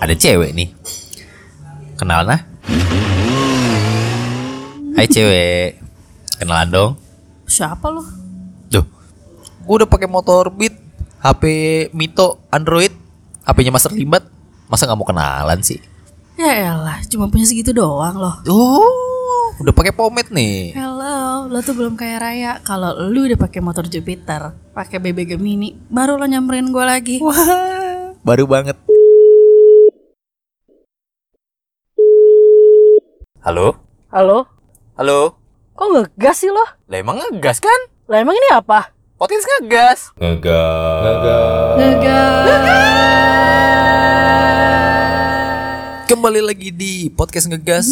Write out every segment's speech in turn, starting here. ada cewek nih. Kenal nah? Hai cewek. Kenalan dong. Siapa lu? Duh. Gua udah pakai motor Beat, HP Mito Android, HP-nya Master Limbat. Masa nggak mau kenalan sih? Ya elah, cuma punya segitu doang loh. Oh, udah pakai pomade nih. Hello, lo tuh belum kaya raya. Kalau lu udah pakai motor Jupiter, pakai BB Gemini, baru lo nyamperin gue lagi. Wah, baru banget. Halo? Halo? Halo? Kok ngegas sih lo? Lah emang ngegas kan? Lah emang ini apa? Potis ngegas. Kembali lagi di podcast ngegas.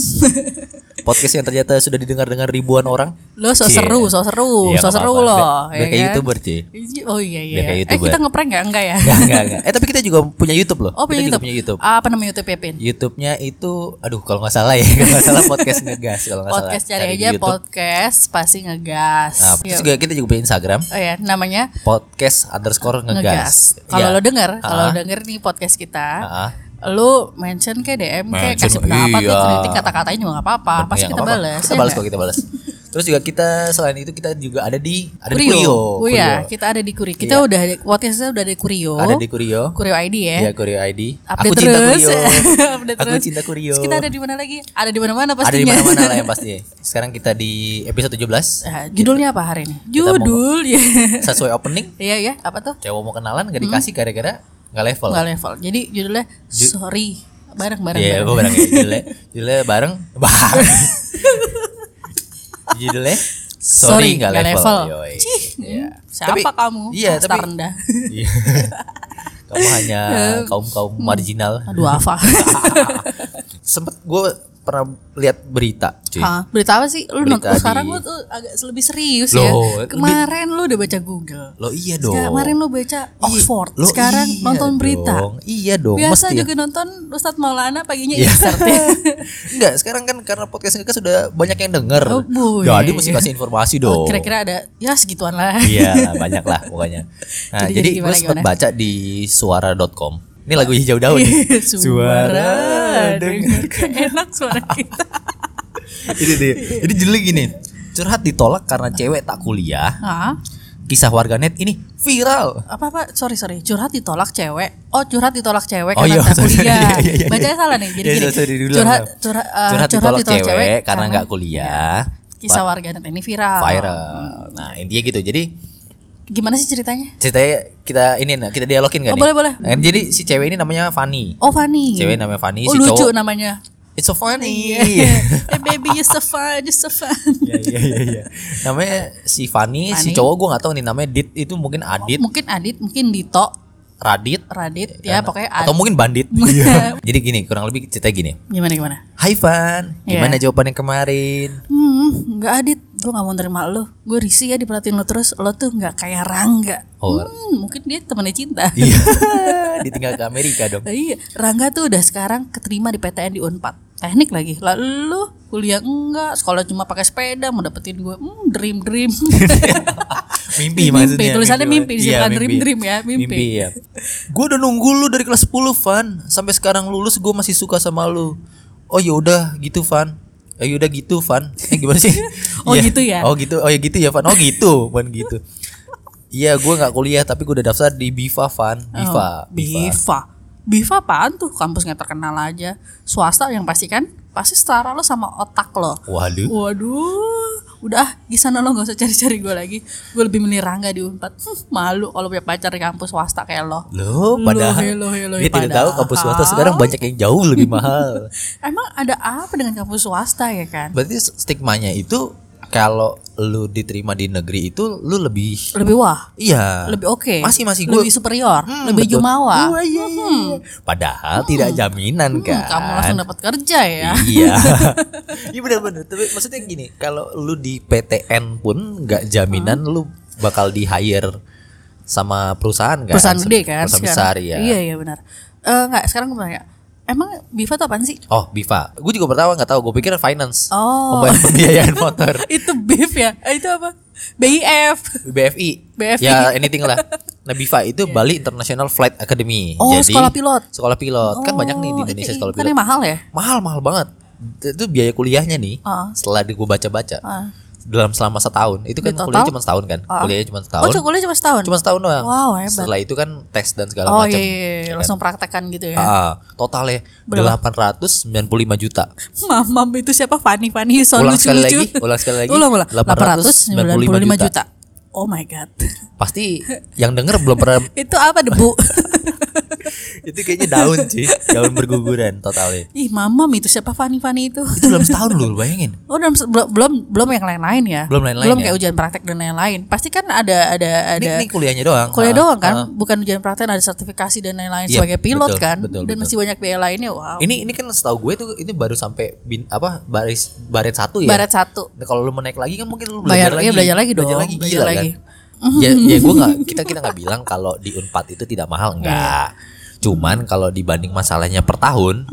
podcast yang ternyata sudah didengar-dengar ribuan orang. Lo so Cie. seru, so seru, Iya, so nggak seru apa-apa. lo. Biar- biar kan? kayak youtuber sih. Iya, Oh iya iya. Biar kayak Eh YouTuber. kita ngeprank nggak enggak ya? Enggak, enggak, enggak. Eh tapi kita juga punya YouTube loh. Oh punya kita juga YouTube. punya YouTube. Apa nama YouTube ya Pin? YouTube-nya itu, aduh kalau nggak salah ya, kalau nggak salah podcast ngegas kalau nggak salah. Podcast cari di aja YouTube. podcast pasti ngegas. Nah, terus Yuk. juga kita juga punya Instagram Oh ya, namanya podcast underscore ngegas. ngegas. Kalau Iya. lo denger, kalau Ah. lo denger nih podcast kita, Ah, ah. lu mention kayak DM kayak Mention, kasih pendapat iya. kayak kritik kata-katanya juga nggak apa-apa Bener, pasti ya, kita nggak apa-apa. balas Kita ya balas nggak? kok kita balas. Terus juga kita selain itu kita juga ada di ada di Kurio, Kurio. Oh iya, Kurio. Iya. kita ada di Kurio. Kita udah ada, podcastnya udah ada di Kurio. Ada di Kurio. Kurio ID ya. Iya, Kurio ID. Update Aku terus. cinta Kurio. Update Aku terus. cinta Kurio. Terus kita ada di mana lagi? Ada di mana-mana pastinya. Ada di mana-mana lah yang pasti. Sekarang kita di episode 17 Eh, judulnya apa hari ini? mau- Judul ya. sesuai opening. Iya ya, apa tuh? Cewek mau kenalan gak Hmm. dikasih gara-gara nggak level. Nggak level. Jadi judulnya sorry bareng-bareng. Iya, gue bareng ya. Judulnya, judulnya bareng. Bareng. judulnya Sorry, nggak level. Yoi. Cih, Iya. Hmm, siapa Tapi- kamu? Iya, Kasta tapi rendah. Iya. Kamu hanya kaum-kaum marginal. Eh, hmm. Aduh, apa? Sempet gue pernah lihat berita, cuy. Hah, berita apa sih? Lu Berita nonton sekarang di- lu tuh agak lebih serius ya. Loh, Kemarin lu udah baca Google. Lo iya dong. Kemarin lu baca Ih, Oxford. lo sekarang Oh, iya nonton berita. dong. Iya dong. Biasa mesti ya. juga nonton Ustadz Maulana paginya Iya. insert ya. Enggak, sekarang kan karena podcast kita sudah banyak yang denger. Oh, boy. Oh, Jadi mesti kasih informasi dong. Kira-kira ada ya segituan lah. Iya, banyak lah pokoknya. Nah, jadi, Jadi- jadi gue gimana, sempat gimana? baca di suara.com. Ini lagu hijau daun. Iya, ya. nih. dengar enak suara kita. Ini dia. Jadi judulnya gini. Curhat ditolak karena cewek tak kuliah. Hah? Kisah warganet ini viral. apa apa sorry sorry curhat ditolak cewek oh curhat ditolak cewek Oh, karena iya, tak sorry, kuliah iya, iya, iya. bacanya salah nih jadi Iya, gini, sorry, diulang, curhat maaf. curhat, eh, Curhat ditolak, cewek, karena nggak kuliah. kisah warganet ini viral Viral. Nah, intinya gitu. Jadi gimana sih ceritanya ceritanya kita ini nah, kita dialogin gak Oh, nih? boleh, boleh. Nah, jadi si cewek ini namanya Fanny. oh Fanny Cewek namanya Fanny, oh si lucu cowok- Iya. namanya It's so funny. Eh, baby you so fun you so fun Iya iya iya iya. Namanya si Fanny, si Fanny. cowok gua nggak tahu nih namanya Dit itu mungkin Adit, mungkin Adit mungkin Dito Radit Radit ya kan? pokoknya atau Adit mungkin Bandit. Iya. Jadi gini, kurang lebih cerita gini. gimana gimana Hai Fan, Iya. gimana jawaban yang kemarin? Hmm, nggak Adit, gue nggak mau terima lo. Gue risih ya diperhatiin lo terus. Lo tuh nggak kayak Rangga. Oh. Hmm, mungkin dia temennya cinta. Iya. Ditinggal ke Amerika dong. Lah iya, Rangga tuh udah sekarang keterima di PTN di Unpad. Teknik lagi. Lalu lu kuliah enggak, sekolah cuma pakai sepeda mau dapetin gue. Hmm, dream dream. Mimpi maksudnya. tulisannya mimpi, Iya, bukan mimpi. dream dream ya, mimpi. Mimpi ya. Gue udah nunggu lu dari kelas 10 Van, sampai sekarang lulus gue masih suka sama lu. Oh ya udah gitu Van. Oh ya udah gitu Van. Eh gimana sih? Oh, Iya. gitu ya? Oh gitu. Oh ya gitu ya Van. Oh gitu, Van gitu. Iya, gue nggak kuliah tapi gue udah daftar di Biva Van. Biva. Oh, Biva. Biva apaan tuh? Kampus nggak terkenal aja. Swasta yang pasti kan pasti setara lo sama otak lo. Waduh. Waduh, udah ah, di sana lo gak usah cari-cari gue lagi. Gue lebih milih Rangga di Unpad. Hmm, malu kalau punya pacar di kampus swasta kayak lo. Loh, padahal Loh, loh, loh, dia tidak tahu padahal. kampus swasta sekarang banyak yang jauh lebih mahal. Emang ada apa dengan kampus swasta ya kan? Berarti stigmanya itu kalau lu diterima di negeri itu lu lebih Lebih wah, iya lebih oke, Masih masih gua lebih superior, Hmm, lebih betul. jumawa. Wah, iya, iya, iya. Padahal tidak jaminan Hmm, kan. kamu langsung dapat kerja ya. Iya. Iya benar-benar. Tapi maksudnya gini, kalau lu di PTN pun nggak jaminan Hmm. lu bakal di hire sama perusahaan kan? Perusahaan gede kan? Perusahaan besar sekarang. ya. Iya iya benar. Eh nggak sekarang gue tanya, emang Biva tuh apaan sih? Oh, Biva. Gue juga pertama nggak tahu. Gue pikir finance. Oh. Pembayar pembiayaan motor. itu beef ya? Eh, itu apa? BIF. BFI. BFI. Ya anything lah. Nabifa itu Bali International Flight Academy. Iya, Oh, sekolah pilot. Sekolah pilot. Kan banyak nih di Oh, Indonesia iya, sekolah bukannya pilot. mahal ya? Mahal mahal banget. Itu biaya kuliahnya nih. Ah. Setelah gue baca-baca. Ah. Dalam selama setahun. Itu kan Di total? kuliahnya cuma setahun kan? Ah. Kuliahnya cuma Oh, setahun. sekolah cuma setahun. cuma setahun doang. Wow, hebat. Setelah itu kan tes dan segala oh macam. iya, iya, iya, ya kan? langsung praktekan gitu ya. Ah, totalnya 895 juta. Mamam itu siapa? Fanny Fanny Son Ulang lucu sekali lucu. lagi, ulang sekali lagi. Ulang ulang. 895 juta. 895 juta. Oh my god. Pasti yang denger belum pernah itu apa debu? itu kayaknya daun sih, daun berguguran totalnya. Ih, mamam itu siapa Fanny Fanny itu? Itu dalam setahun loh, bayangin. Oh, dalam se- belum belum belum yang lain-lain ya. Belum lain-lain Belum ya. kayak ujian praktek dan lain-lain. Pasti kan ada ada Ini, ada ini kuliahnya doang. Ah, kuliah doang kan, ah. bukan ujian praktek ada sertifikasi dan lain-lain Iya, sebagai pilot betul, kan, betul, dan betul. masih banyak biaya lainnya. Wow. Ini ini kan setahu gue tuh ini baru sampai bin, apa baris baret satu ya. Barat satu. Nah, kalau lu mau naik lagi kan mungkin lu belajar Bayar- lagi. iya, belajar lagi Belajar dong, lagi, belajar gila lagi. kan? ya, ya gue nggak kita kita nggak bilang kalau di Unpad itu tidak Iya. mahal enggak. Cuman kalau dibanding masalahnya per tahun,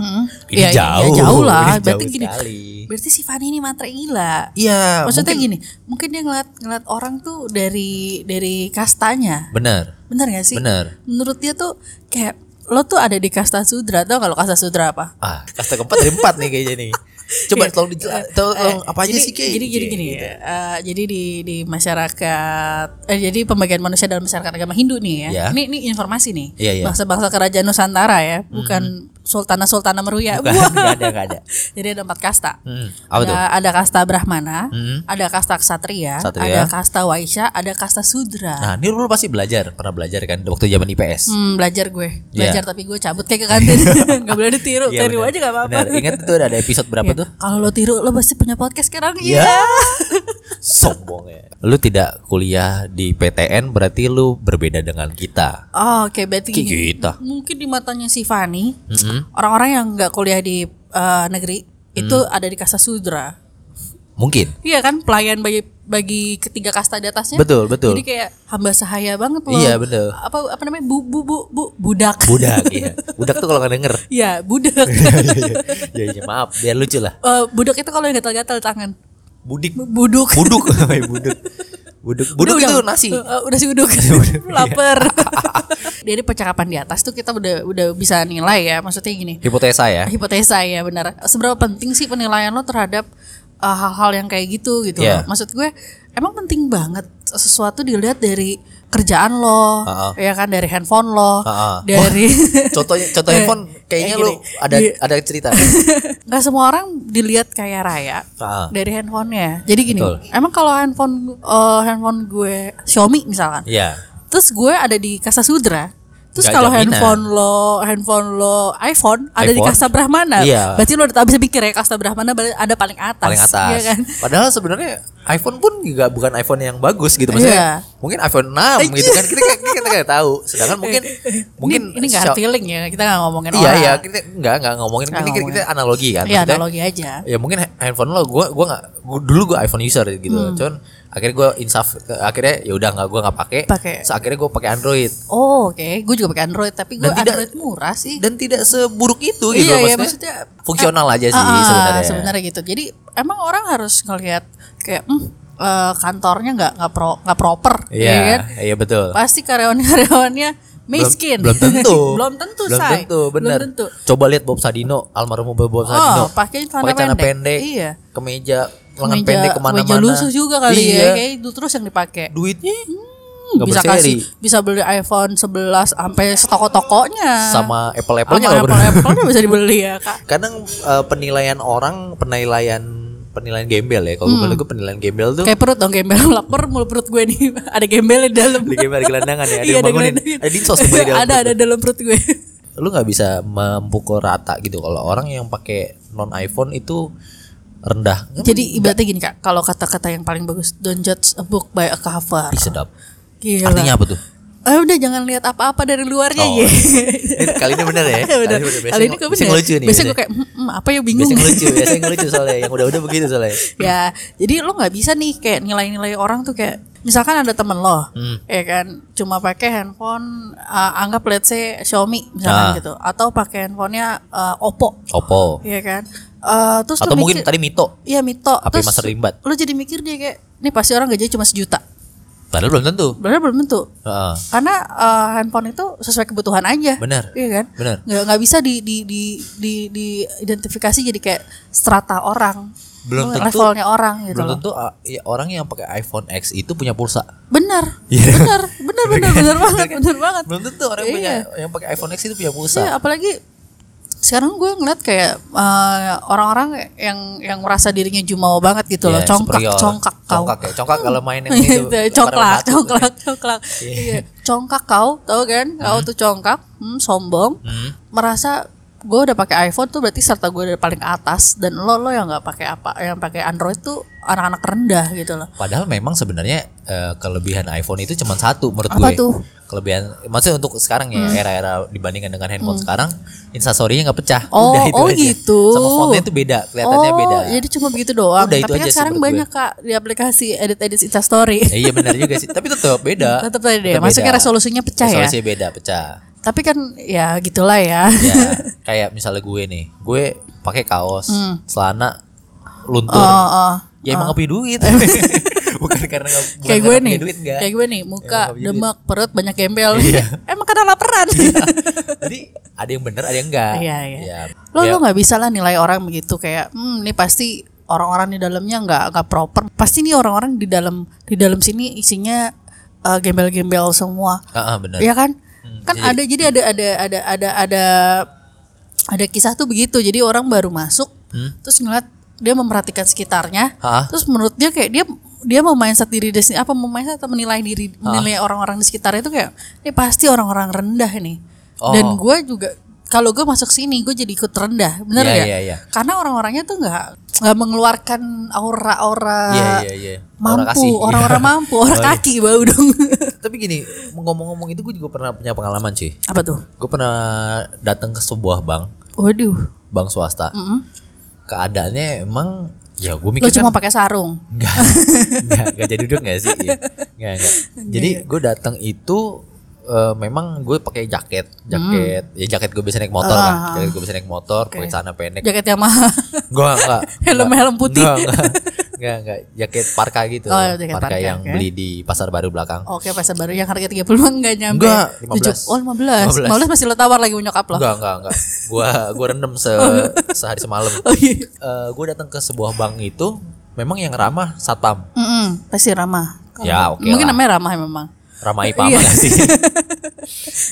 ini Iya, iya, jauh. iya, jauh lah. Ini Berarti jauh gini. sekali. Berarti si Fanny ini matre gila. Iya. Maksudnya mungkin- gini, mungkin dia ngeliat ngeliat orang tuh dari dari kastanya, Bener, bener gak sih? bener. Menurut dia tuh kayak lo tuh ada di kasta sudra tau kalau kasta sudra apa? Ah, kasta keempat dari empat nih kayaknya nih. Coba tolong dijelas, tolong Oh, apa aja Iya. Eh, jadi, sih Iya. kayak Jadi jadi gini, eh, jadi di di masyarakat, eh, jadi pembagian manusia dalam masyarakat agama Hindu nih ya. Ya. Ini ini informasi nih. Iya, iya. Bangsa-bangsa kerajaan Nusantara ya, bukan sultana-sultana Meruya. Bukan, Wah. nggak ada, nggak ada. jadi ada empat kasta. Hmm, apa tuh? ada, ada kasta Brahmana, Hmm. ada kasta Ksatria, Ksatria. ada kasta Waisya, ada kasta Sudra. Nah, ini lu pasti belajar, pernah belajar kan waktu zaman IPS. Hmm, belajar gue, Iya. belajar tapi gue cabut kayak ke kantin, nggak boleh ditiru, Iya, tiru bener. aja gak apa-apa. Bener. Ingat itu ada episode berapa Iya. tuh? Kalau lo tiru, lo pasti punya podcast sekarang. iya. Ya. Sombong ya. Lu tidak kuliah di PTN berarti lu berbeda dengan kita. Oh, Oke, berarti Ki- gini. kita. Hmm, Mungkin di matanya si Fani, Mm-mm. orang-orang yang nggak kuliah di eh, negeri itu Hmm. ada di kasta sudra. Mungkin. Iya kan, pelayan bagi bagi ketiga kasta di atasnya. Betul, betul. Ya, Jadi kayak hamba sahaya banget loh. Iya, bener. Apa apa namanya? Bu bu bu, bu- budak. Budak ya. Budak tuh kalau nggak denger. Iya, budak. ya, ya, maaf, biar lucu lah. Eh, budak itu kalau yang gatal-gatal tangan. Budik. Bu- Buduk. Buduk. Woi, buduk. Buduk. Buduk Udah, itu udah. nasi. iya. Eh, eh, udah sih uduk. Laper. Dari percakapan di atas tuh kita udah udah bisa nilai ya. Maksudnya gini. Hipotesa ya. hipotesa ya benar seberapa penting sih penilaian lo terhadap uh, hal-hal yang kayak gitu gitu Iya. loh. maksud gue emang penting banget sesuatu dilihat dari kerjaan lo Ha-ha. ya kan dari handphone lo Ha-ha. dari Contohnya contoh handphone kayaknya Eh, gini. Iya. lu ada Di- ada cerita. nggak semua orang dilihat kaya raya Ha-ha. dari handphonenya jadi gini Betul. emang kalau handphone uh, handphone gue Xiaomi misalkan Iya. terus gue ada di kasta sudra terus Nggak kalau jaminan. handphone lo handphone lo iPhone ada di iPhone? kasta Brahmana Iya. berarti lo udah tahu bisa pikir ya kasta Brahmana ber- ada paling atas paling atas. iya kan Padahal sebenarnya iPhone pun juga bukan iPhone yang bagus gitu Iya. maksudnya. Mungkin iPhone 6 gitu kan kita kita kita nggak tahu. Sedangkan mungkin mungkin ini, ini gak Xiao- feeling ya kita gak ngomongin Iya orang iya kita nggak nggak ngomongin Nggak ini kita, kita analogi kan. Iya, Maksudnya, analogi aja Ya mungkin ha- handphone lo gua gua nggak gua- dulu gua iPhone user gitu. Hmm. Cuman akhirnya gua insaf akhirnya ya udah nggak gua nggak pakai. Pakai. So, akhirnya gua pakai Android. oh oke gue juga pakai Android tapi gue Dan tidak- Android murah sih Dan tidak seburuk itu gitu iya loh, iya maksudnya. maksudnya fungsional aja Iya sih Ah, ah, sebenarnya. sebenarnya gitu jadi emang orang harus ngelihat kayak hmm, eh, kantornya nggak nggak pro nggak proper Iya, ya kan iya betul. pasti karyawan-karyawannya miskin. Belum, belum tentu. belum tentu, Belum Say. tentu, benar. Belum tentu. Coba lihat Bob Sadino, almarhum Bob Sadino. Oh, pakai celana pendek. Iya. Kemeja lengan Meja- pendek kemana mana meja lusuh juga kali iya. ya. Kayak itu terus yang dipakai. Duitnya Hmm, nggak bisa berseri. kasih, bisa beli iPhone 11 sampai sama setoko-tokonya. Ah, Sama Apple-Apple-nya nggak Apple berapa. Apple-nya bisa dibeli ya, Kak. Kadang eh, penilaian orang, penilaian penilaian gembel ya. Kalau gue Hmm. gue penilaian gembel tuh Kayak perut dong gembel lapar mulu perut gue nih. ada gembelnya di dalam. di gembel di gelandangan ya, ada Iya, yang bangunin. gelandangin. Ada dinsos tuh, di dalam Ada ada dalam perut gue. lu nggak bisa memukul rata gitu kalau orang yang pakai non iPhone itu rendah Jadi ibaratnya gini, Kak, kalau kata-kata yang paling bagus, don't judge a book by a cover. Ih, sedap Gila. artinya apa tuh Eh udah jangan lihat apa-apa dari luarnya Oh. ya. Ini kali ini bener ya. Bener. bener. Biasanya Iya, Kali ini gue biasanya bener. ngelucu nih. Biasanya gue kayak "Hmm, hmm, apa ya bingung. biasanya lucu, biasanya lucu soalnya yang udah-udah begitu soalnya. ya, jadi lo nggak bisa nih kayak nilai-nilai orang tuh kayak misalkan ada temen lo, Hmm, ya kan, cuma pakai handphone uh, anggap let's say Xiaomi misalkan Ah. gitu, atau pakai handphonenya uh, Oppo, Oppo. ya kan. Eh terus Atau lo mungkin mikir- tadi Mito. Iya Mito HP Terus Master Limbat. Lo jadi mikir dia kayak ini pasti orang gajinya cuma sejuta. Padahal belum tentu. Benar belum tentu. Heeh. Karena eh, handphone itu sesuai kebutuhan aja. Benar. Iya kan? Benar. Nggak, nggak bisa di di di di diidentifikasi jadi kayak strata orang. Belum tentu- levelnya orang gitu belum loh. tentu ah, ya, orang yang pakai iPhone X itu punya pulsa. Benar. Iya. Benar, benar benar benar banget, benar banget. Belum tentu orang yang punya yang pakai iPhone X itu punya pulsa. Iya, apalagi sekarang gue ngeliat kayak eh, orang-orang yang yang merasa dirinya jumawa banget gitu Iya, loh, congkak, superior. congkak kau. Congkak ya, congkak kalau main yang Iya, itu. itu, congklak, congklak, congklak. Iya, congkak kau, tau kan? Kau tuh congkak, hmm, sombong, Hmm. merasa gue udah pakai iPhone tuh berarti serta gue dari paling atas dan lo lo yang nggak pakai apa, yang pakai Android tuh anak-anak rendah gitu loh. Padahal memang sebenarnya eh, kelebihan iPhone itu cuma satu menurut Apa gue. tuh? Hmm. Kelebihan maksudnya untuk sekarang ya era-era dibandingkan dengan handphone sekarang, instastory-nya nggak pecah. Oh, Udah itu oh aja. gitu. Sama fontnya itu beda, kelihatannya oh, beda. jadi cuma begitu doang. Udah, itu Tapi kan aja sih sekarang menurut gue. banyak kak di aplikasi edit-edit Instastory. Eh, iya benar juga sih, tapi tetap beda. Tetap tadi deh, maksudnya resolusinya pecah ya. Resolusinya beda, pecah. Tapi kan ya gitulah ya. Ya, kayak misalnya gue nih, gue pakai kaos, celana luntur. Hmm. Oh, oh. ya emang gak punya duit. bukan karena nggak bukan Kayak karena gue punya nih, duit enggak. kayak gue nih, Emang muka nggak punya demek, perut banyak gembel. Iya. Emang karena laparan. Jadi ada yang bener, ada yang enggak. Iya, iya. Ya, lo ya, lo nggak bisa lah nilai orang begitu kayak, hmm, ini pasti orang-orang di dalamnya nggak nggak proper. Pasti nih orang-orang di dalam di dalam sini isinya eh, gembel-gembel semua. ah, ah, bener. Iya kan? kan jadi- ada jadi ada ada ada ada ada ada kisah tuh begitu. Jadi orang baru masuk Hmm? terus ngeliat dia memperhatikan sekitarnya. Hah? Terus menurut dia kayak dia dia mau mindset diri dia sendiri apa mau mindset atau menilai diri menilai orang-orang di sekitarnya itu kayak ini pasti orang-orang rendah nih. Oh. Dan gue juga kalau gue masuk sini gue jadi ikut rendah, bener Iya, ya? iya, iya. Karena orang-orangnya tuh nggak nggak mengeluarkan aura-aura Iya, iya, iya. Aura kasih. Eh, Iya. Oh, mampu, orang-orang mampu, orang kaki bau dong. Tapi gini, ngomong-ngomong itu gue juga pernah punya pengalaman sih. apa tuh? Gue pernah datang ke sebuah bank, Waduh. bank swasta. Keadaannya emang ya gue mikir Hmm. Lo cuma pakai sarung. Enggak, enggak, enggak jadi duduk enggak sih? Iya. Enggak, enggak. Jadi iya. gue datang itu eh, memang gue pakai jaket, jaket, Hmm. ya jaket gue bisa naik motor Ah, kan, jaket gue bisa naik motor, pakai celana pendek. Jaket Yamaha. Gue enggak, Helm- helm putih. Enggak, enggak, enggak, enggak. jaket parka gitu, Oh, jaket parka, parka, yang oke. beli di pasar baru belakang. Oke, pasar baru yang harga 30 enggak nyampe. Enggak, Tujuh- 15. Oh, 15. 15. 15. masih lo tawar lagi punya nyokap lo. Enggak, enggak, enggak. Gua gua rendem se sehari semalam. Oh iya. Eh, gue datang ke sebuah bank itu memang yang ramah satpam, Mm-mm, pasti ramah. Ya, oke Mungkin lah. namanya ramah memang. ramai pama nggak sih?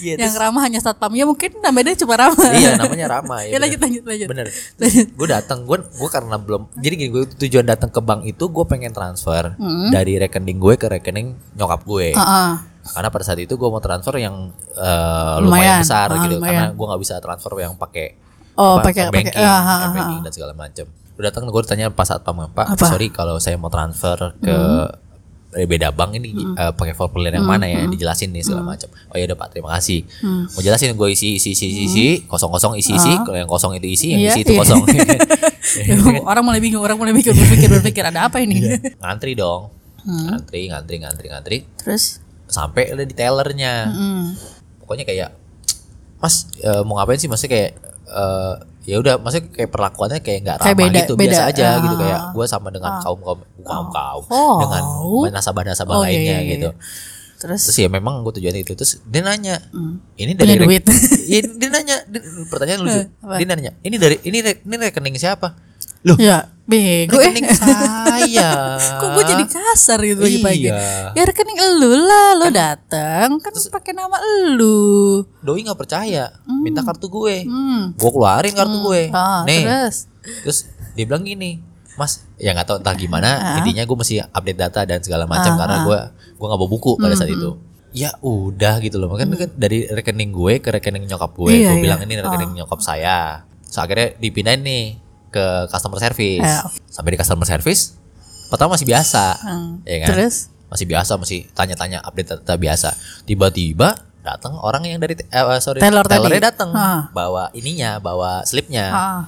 Iya, yang ramah hanya satpam. Ya mungkin namanya cuma ramah. Iya namanya Rama Ya, lanjut lanjut lanjut. Bener. Gue datang gue gue karena belum. Jadi gini gue tujuan datang ke bank itu gue pengen transfer Hmm. dari rekening gue ke rekening nyokap gue. Heeh. Karena pada saat itu gue mau transfer yang eh, lumayan Lumayan. besar Ah, gitu. lumayan. Karena gue nggak bisa transfer yang pakai Oh, apa, pakai pakai banking, ah, ah, ah. banking dan segala macam. Gue datang gue tanya pas saat pam pak, Apa? Hmm. sorry kalau saya mau transfer ke eh, beda bank ini eh, pakai form pilihan yang mana ya dijelasin nih Hmm. segala macam. Oh ya udah pak terima kasih. Mau jelasin gue isi isi isi isi, isi kosong kosong isi isi kalau yang kosong itu isi yang Hmm. Ah. Iya, isi itu iya. kosong. orang mulai bingung, orang mulai mikir berpikir berpikir ada apa Iya. ini. ngantri dong, Hmm. ngantri ngantri ngantri ngantri Terus sampai udah di tellernya. mm, pokoknya kayak mas eh, mau ngapain sih maksudnya kayak eh, ya udah maksudnya kayak perlakuannya kayak nggak ramah Kayak beda- gitu beda, biasa aja ah. gitu kayak gue sama dengan kaum kaum kaum kaum Oh. dengan nasabah-nasabah Oh, iya, lainnya iya, iya. gitu terus terus ya memang gue tujuan itu terus dia nanya ini Hmm. Punya dari rek- duit. Iya, dia nanya di- pertanyaan lucu Eh, apa? dia nanya ini dari ini re- ini rekening siapa loh ya bego eh. rekening saya Kok gue jadi kasar gitu pagi-pagi? Iya. Ya rekening elu lah, lo datang kan pakai nama elu. doi nggak percaya minta kartu gue Hmm. gue keluarin kartu gue Ah, nih terus terus dia bilang gini mas ya nggak tahu entah gimana Ah. intinya gue mesti update data dan segala macam karena gue gue nggak bawa buku pada saat itu ya udah gitu loh makanya kan dari rekening gue ke rekening nyokap gue Mm. Iya, gue iya. bilang ini rekening nyokap saya so akhirnya dipindahin nih ke customer service Ya. sampai di customer service pertama masih biasa Hmm. ya kan Terus? masih biasa masih tanya-tanya update data biasa tiba-tiba datang orang yang dari eh, sorry Teller tadi. tellernya datang Ah. bawa ininya bawa slipnya ah,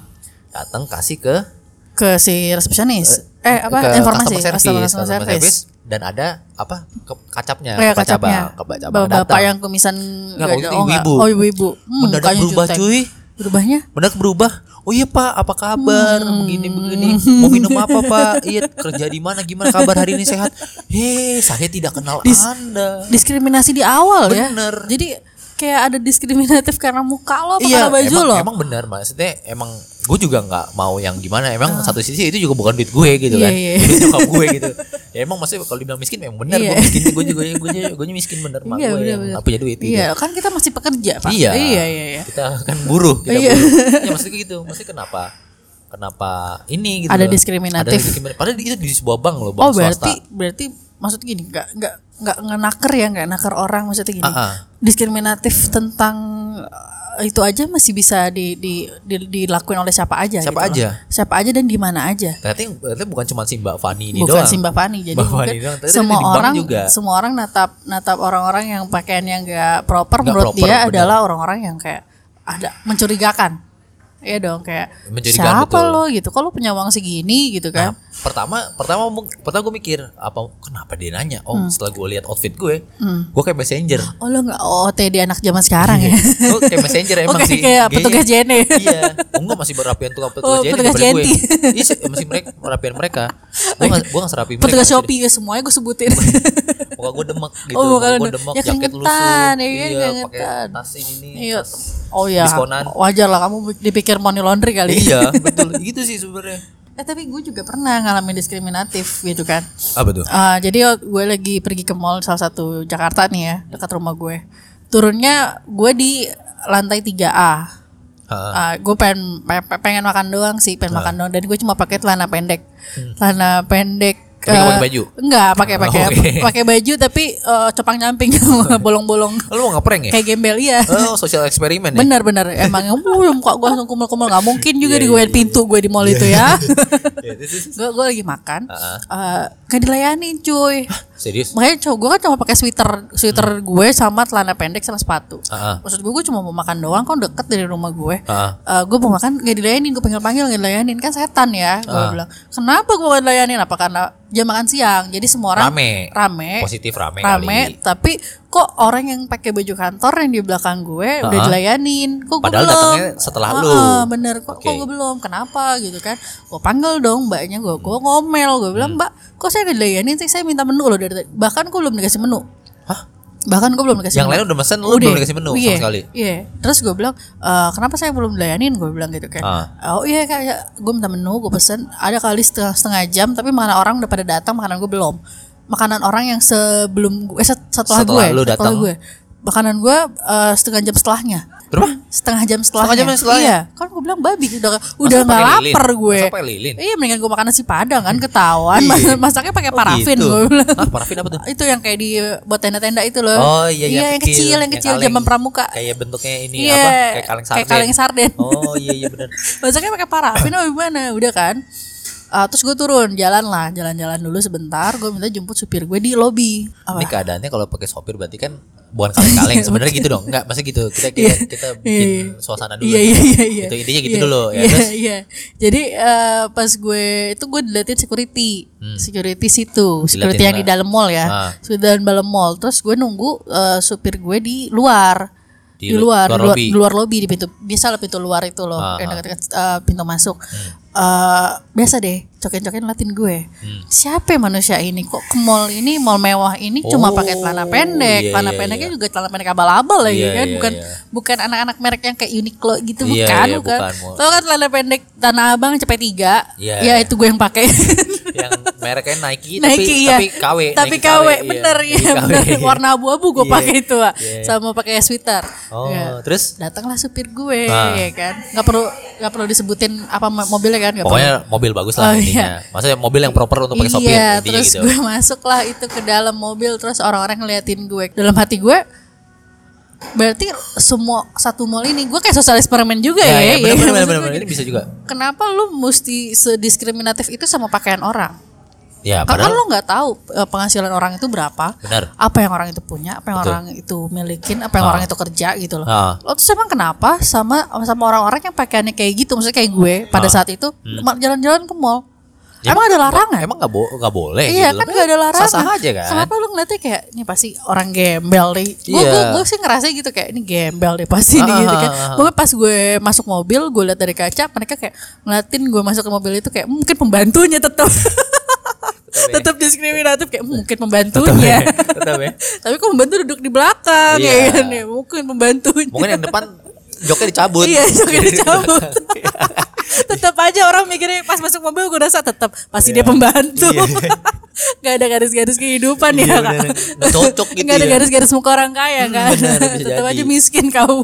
datang kasih ke ke si resepsionis. Eh apa ke informasi customer service, Customer- customer customer service, dan ada apa ke- kacapnya Eh, kepala kacapnya. cabang, kepala cabang Bapak datang. yang kumisan Nggak, waktu itu nggak- ibu-ibu. Oh ibu-ibu. Hmm, mendadak mukanya berubah jutek. cuy berubahnya Mendadak berubah. Oh iya pak, apa kabar? Hmm. Begini begini. Mau minum apa pak? Iya kerja di mana? Gimana kabar hari ini sehat? Hei, saya tidak kenal anda. diskriminasi di awal ya. Bener. Jadi kayak ada diskriminatif karena muka lo apa Iya, karena Oh, baju emang, lo. emang benar maksudnya emang gue juga nggak mau yang gimana. Emang satu sisi itu juga bukan duit gue gitu Ah. Iya, kan, iya. duit nyokap gue gitu. Ya emang maksudnya kalau dibilang miskin ya emang benar. Iya. Gue miskin, gue juga gue juga- gue juga miskin bener. Mak Iya, gue bener, yang bener. nggak punya duit. gitu. Iya, kan kita masih pekerja, Pak. Iya. iya, iya. iya. Kita kan buruh, tidak Iya. buruh. Ya maksudnya gitu. Maksudnya kenapa? Kenapa ini gitu? Ada loh. diskriminatif. Ada diskriminatif. Padahal itu di sebuah bank loh, bank Oh, berarti swasta. berarti maksud gini, nggak nggak nggak ngenaker ya, nggak naker orang maksudnya gini. Ah, ah. Diskriminatif tentang eh, itu aja masih bisa di, di, di- dilakuin oleh siapa aja Siapa gitu loh. aja? Siapa aja dan di mana aja. Ternyata, yang- ternyata bukan cuma si Mbak Fani ini bukan doang. si Mbak Fani jadi Mbak mungkin Fani doang, ternyata semua di bank orang juga. semua orang natap natap orang-orang yang pakaiannya nggak proper Nggak menurut proper, dia benar. adalah orang-orang yang kayak ada mencurigakan Iya dong kayak Mencurigakan, siapa betul. lo gitu kalau punya uang segini gitu Nah, kan pertama pertama mung- pertama gue mikir apa kenapa dia nanya oh Hmm. setelah gue lihat outfit gue gue kayak messenger oh lo nggak OOTD anak zaman sekarang ya gue kayak messenger emang Oke, sih Oh, kayak Gayanya- petugas JNE. iya enggak masih berapian tukang petugas E Oh, JNE petugas E. daripada gue JNE. iya sih, masih mereka berapian mereka gue nggak gue nggak serapi mereka petugas asli. Shopee ya semuanya gue sebutin muka gue demek gitu Oh, muka muka lu gue de- demek ya jaket lusuh keringetan, ya kan, iya pakai keringetan. tas ini nih Iya. tas- oh ya Diskonan. wajar lah kamu dipikir money laundry kali iya betul gitu sih sebenarnya eh tapi gue juga pernah ngalamin diskriminatif gitu kan apa tuh Ah, jadi waktu gue lagi pergi ke mall salah satu Jakarta nih ya dekat rumah gue. Turunnya gue di lantai 3 A. Ah. gue pengen pe- pe- pengen makan doang sih, pengen makan doang dan gue cuma pakai celana pendek. Celana pendek. Tapi nggak eh, Hmm. pakai baju? Enggak, pakai Oh, pakai oke. pakai baju tapi eh, copang nyamping bolong-bolong lu mau ngeprank ya kayak gembel iya. oh sosial eksperimen ya Bener-bener emang belum kok gue langsung kumel-kumel nggak mungkin juga di pintu gue di mall itu ya. Iya, terus- terus- gue gue lagi makan, Ah. eh, nggak dilayanin cuy. serius makanya cowok gue kan cuma pakai sweater sweater Hmm. gue sama celana pendek sama sepatu Ah, ah. maksud gue gue cuma mau makan doang kan deket dari rumah gue Ah. Eh, gue mau makan gak dilayanin gue panggil panggil gak dilayanin kan setan ya gue Ah. bilang kenapa gue gak dilayanin apa karena jam makan siang jadi semua orang Rame. rame positif rame, rame, kali tapi kok orang yang pakai baju kantor yang di belakang gue udah Ah. dilayanin kok gue Padahal belum datangnya setelah Ah, lu. ah, bener kok kok Oke. gue belum kenapa gitu kan gue panggil dong mbaknya gue gue ngomel gue bilang Hmm. mbak kok saya nggak dilayanin sih saya minta menu loh dari tadi." bahkan gue belum dikasih menu Hah? bahkan gue belum dikasih yang lain menu. udah mesen lu belum dikasih menu Iya, sama sekali Iya. Terus gue bilang, "Eh, kenapa saya belum dilayanin? Gue bilang gitu kan. Ah. Oh iya kak, ya. gue minta menu, gue pesen. Ada kali setengah, setengah jam, tapi makanan orang udah pada datang, makanan gue belum. Makanan orang yang sebelum gue, eh, set- setelah, Setelah gue, lu datang. gue, makanan gue eh, setengah jam setelahnya. berapa Setengah jam setelahnya. Setengah jam setelahnya? Iya. Kan gue bilang babi udah udah pakai nggak lilin? lapar gue. Masak pakai lilin? Iya, mendingan gue makan nasi padang kan ketahuan. Iya. Masaknya pakai Oh, parafin gitu. gue bilang ah parafin apa tuh itu yang kayak di buat tenda-tenda itu loh. Oh iya, yang kecil, yang kecil kaleng. zaman pramuka. Kayak bentuknya ini Iya, apa? Kayak kaleng sarden. kayak kaleng sarden. Oh iya iya benar. Masaknya pakai parafin apa gimana? Udah kan? Ah, terus gue turun jalan lah jalan-jalan dulu sebentar gue minta jemput supir gue di lobi Ini apa Iya, keadaannya kalau pakai sopir berarti kan bukan kaleng-kaleng sebenarnya gitu dong. Enggak, maksudnya gitu. Kita kita, kita bikin suasana dulu. iya iya iya iya Gitu, intinya gitu Iya, dulu ya. iya Terus iya jadi eh, pas gue itu gue diliatin security security situ security yang Hmm. di mana? dalam mall ya Ah. di dalam mall terus gue nunggu eh, supir gue di luar di, luar, di luar lobi. di luar lobby di pintu biasa lah pintu luar itu loh Ah, Hmm. yang dekat-dekat eh, pintu masuk Eh, biasa deh coken-coken latin gue Hmm. siapa ya manusia ini kok ke mall ini mall mewah ini Oh, cuma pakai celana pendek iya, celana iya, pendeknya iya. Kan juga celana pendek abal-abal lagi Iya, kan iya, bukan iya. bukan anak-anak merek yang kayak Uniqlo gitu Iya, bukan, iya, bukan bukan. Tau kan celana pendek tanah abang cepet tiga Iya. ya itu gue yang pakai yang mereknya Nike, tapi Nike ya. tapi KW. Tapi Nike KW, iya. bener ya, Nike KW, bener. iya. Warna abu-abu gue Iya. pakai itu, Wak. Iya. sama pakai sweater. Oh, Ya. terus Datanglah supir gue, Ah. ya kan. Nggak perlu nggak perlu disebutin apa mo- mobilnya kan, nggak perlu. pokoknya mobil bagus lah Oh, intinya. Maksudnya mobil yang proper untuk pakai sopir Iya, intinya terus gitu. gue masuklah itu ke dalam mobil, terus orang-orang ngeliatin gue. Dalam hati gue, berarti semua satu mall ini gue kayak sosial eksperimen juga ya, ya, ya. ya bener, bener, kan? Maksud bener, gue bener. ini bisa juga. Kenapa lu mesti sediskriminatif itu sama pakaian orang? Ya, Karena padahal lo nggak tahu eh, penghasilan orang itu berapa, Benar. apa yang orang itu punya, apa yang Betul. orang itu milikin, apa yang Ah. orang itu kerja gitu loh. Ah. Lo tuh emang Ah. kenapa Hmm. sama sama orang-orang yang pakaiannya kayak gitu, maksudnya kayak gue pada saat itu ma- jalan-jalan ke mall, Emang ada larangan? Emang nggak bo- nggak boleh? Iya gitu. kan Tapi gak ada larangan Sah-sah aja kan. Kenapa lu ngeliatnya kayak Ini pasti orang gembel deh Gue Iya. gue sih ngerasa gitu kayak Ini gembel deh pasti nih Ah, gitu kan ah, ah. Pokoknya pas gue masuk mobil Gue liat dari kaca Mereka kayak ngeliatin gue masuk ke mobil itu kayak Mungkin pembantunya tetap Tetap diskriminatif kayak "Hmm, Mungkin pembantunya Tetap Iya. ya. Tapi kok pembantu duduk di belakang Iya. ya kan ya Mungkin pembantunya Mungkin yang depan joknya dicabut. Iya. Iya joknya dicabut Tetap aja orang mikirnya Pas masuk mobil gue rasa tetap Pasti dia pembantu Iya. Gak ada garis-garis kehidupan Iya, ya bener. kak Nggak cocok gitu Nggak ada ya. Hmm, garis-garis muka orang kaya kan bener, bisa Tetap jadi. aja miskin kau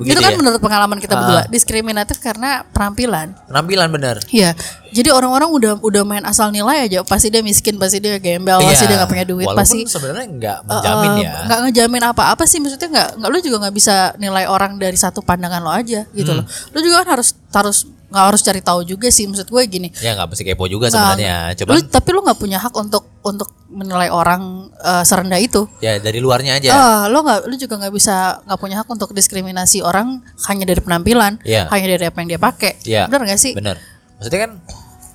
Begitu Itu kan ya? menurut pengalaman kita Ah. berdua Diskriminatif karena penampilan Penampilan bener. Iya, jadi orang-orang udah udah main asal nilai aja. Pasti dia miskin, pasti dia gembel, pasti Iya. dia nggak punya duit, Iya. Walaupun pasti sebenarnya nggak menjamin Eh, ya. nggak ngejamin apa-apa sih maksudnya nggak nggak lu juga nggak bisa nilai orang dari satu pandangan lo aja gitu loh lu juga kan harus harus nggak harus cari tahu juga sih maksud gue gini Ya nggak mesti kepo juga Nggak- sebenarnya. lu, Cuman tapi lu nggak punya hak untuk untuk menilai orang eh, serendah itu ya dari luarnya aja. Ah, lo nggak lu juga nggak bisa nggak punya hak untuk diskriminasi orang hanya dari penampilan Iya. hanya dari apa yang dia pakai Iya. benar nggak sih Bener. Maksudnya kan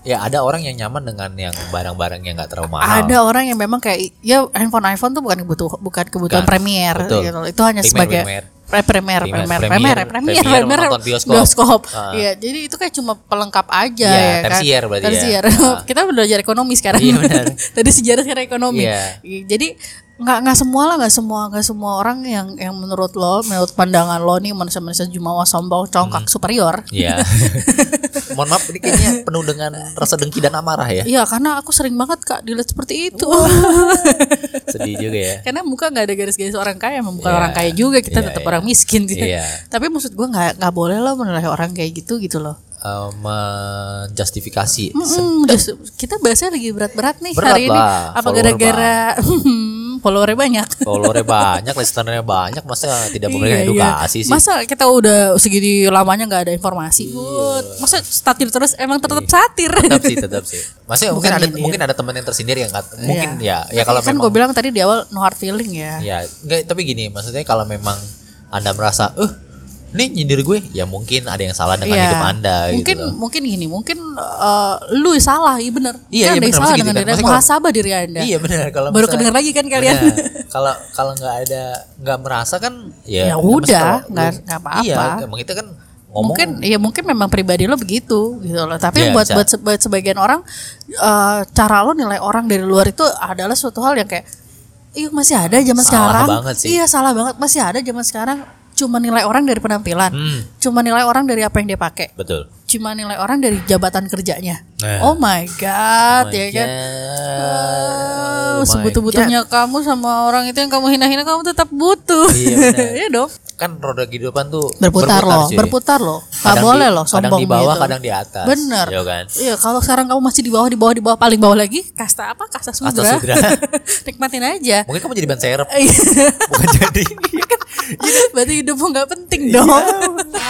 ya ada orang yang nyaman dengan yang barang-barang yang nggak terlalu mahal. ada orang yang memang kayak ya handphone iPhone tuh bukan kebutuhan bukan kebutuhan Bukan. premier Betul. gitu loh. itu hanya Primer, sebagai primer. pre premier Primer, premier premier, premier premier, premier premier menonton bioskop. bioskop Ah. Iya, jadi itu kayak cuma pelengkap aja Iya, ya, kan tersier berarti ya. Tersier. Ah. kita belajar ekonomi sekarang Iya, benar. tadi sejarah sekarang ekonomi Iya. Iya, jadi nggak nggak semua lah nggak semua nggak semua orang yang yang menurut lo menurut pandangan lo nih manusia-manusia jumawa sombong congkak superior Iya. Mohon maaf ini kayaknya penuh dengan rasa dengki dan amarah ya. Iya karena aku sering banget kak dilihat seperti itu Sedih juga ya. karena muka nggak ada garis-garis orang kaya emang bukan Iya. orang kaya juga kita Iya, tetap iya. orang miskin gitu. Iya. tapi maksud gua nggak nggak boleh lah menilai orang kayak gitu gitu loh Eh, menjustifikasi. Mm-mm, justru kita bahasnya lagi berat-berat nih Berat hari ini lah, apa follower gara-gara followernya banyak Followernya banyak, listenernya banyak, masa tidak memberikan Iya, iya. edukasi sih? Iya. Masa kita udah segini lamanya nggak ada informasi? Good. Masa statir terus emang tetap satir. tetap sih, tetap sih. Maksudnya Bukan mungkin ada nyindir. mungkin ada teman yang tersindir yang nggak- mungkin ya, ya kalau kan memang gue bilang tadi di awal no hard feeling ya. Ya, enggak, tapi gini, maksudnya kalau memang Anda merasa, "Eh, ini nyindir gue." Ya mungkin ada yang salah dengan Iya. hidup Anda mungkin gitu. loh. mungkin gini mungkin eh, lu salah iya bener Iya, Kan iya ada yang bener, salah maksudnya gitu kan. dengan diri anda Maksudnya kalau- muhasabah diri anda Iya benar kalau Ya. baru misalnya- kedenger lagi kan kalian Benar. Kalau kalau nggak ada nggak merasa kan ya Ya maksudnya udah, kalau- nggak- nggak apa-apa. Iya, emang kita kan ngomong mungkin ya mungkin memang pribadi lo begitu gitu loh tapi Iya, buat bisa. buat, se- buat sebagian orang eh, cara lo nilai orang dari luar itu adalah suatu hal yang kayak iya masih ada zaman Salah sekarang banget sih. iya salah banget masih ada zaman sekarang cuma nilai orang dari penampilan Hmm. cuma nilai orang dari apa yang dia pakai betul. cuma nilai orang dari jabatan kerjanya Nah. Oh oh my god ya My kan God, my sebutuh-butuhnya kamu sama orang itu yang kamu hina-hina kamu tetap butuh. Iya, benar. Iya dong. God. kan roda kehidupan tuh Berputar, loh, cuy. berputar loh. Kadang Gak boleh di- loh sombong kadang di bawah, gitu. kadang di atas. Bener. Iya kan? Iya, kalau sekarang kamu masih di bawah, di bawah, di bawah, paling bawah lagi kasta apa? Kasta sudra. sudra. Nikmatin aja. Mungkin kamu jadi ban serep Iya. bukan jadi. Iya. Berarti hidupmu nggak penting dong.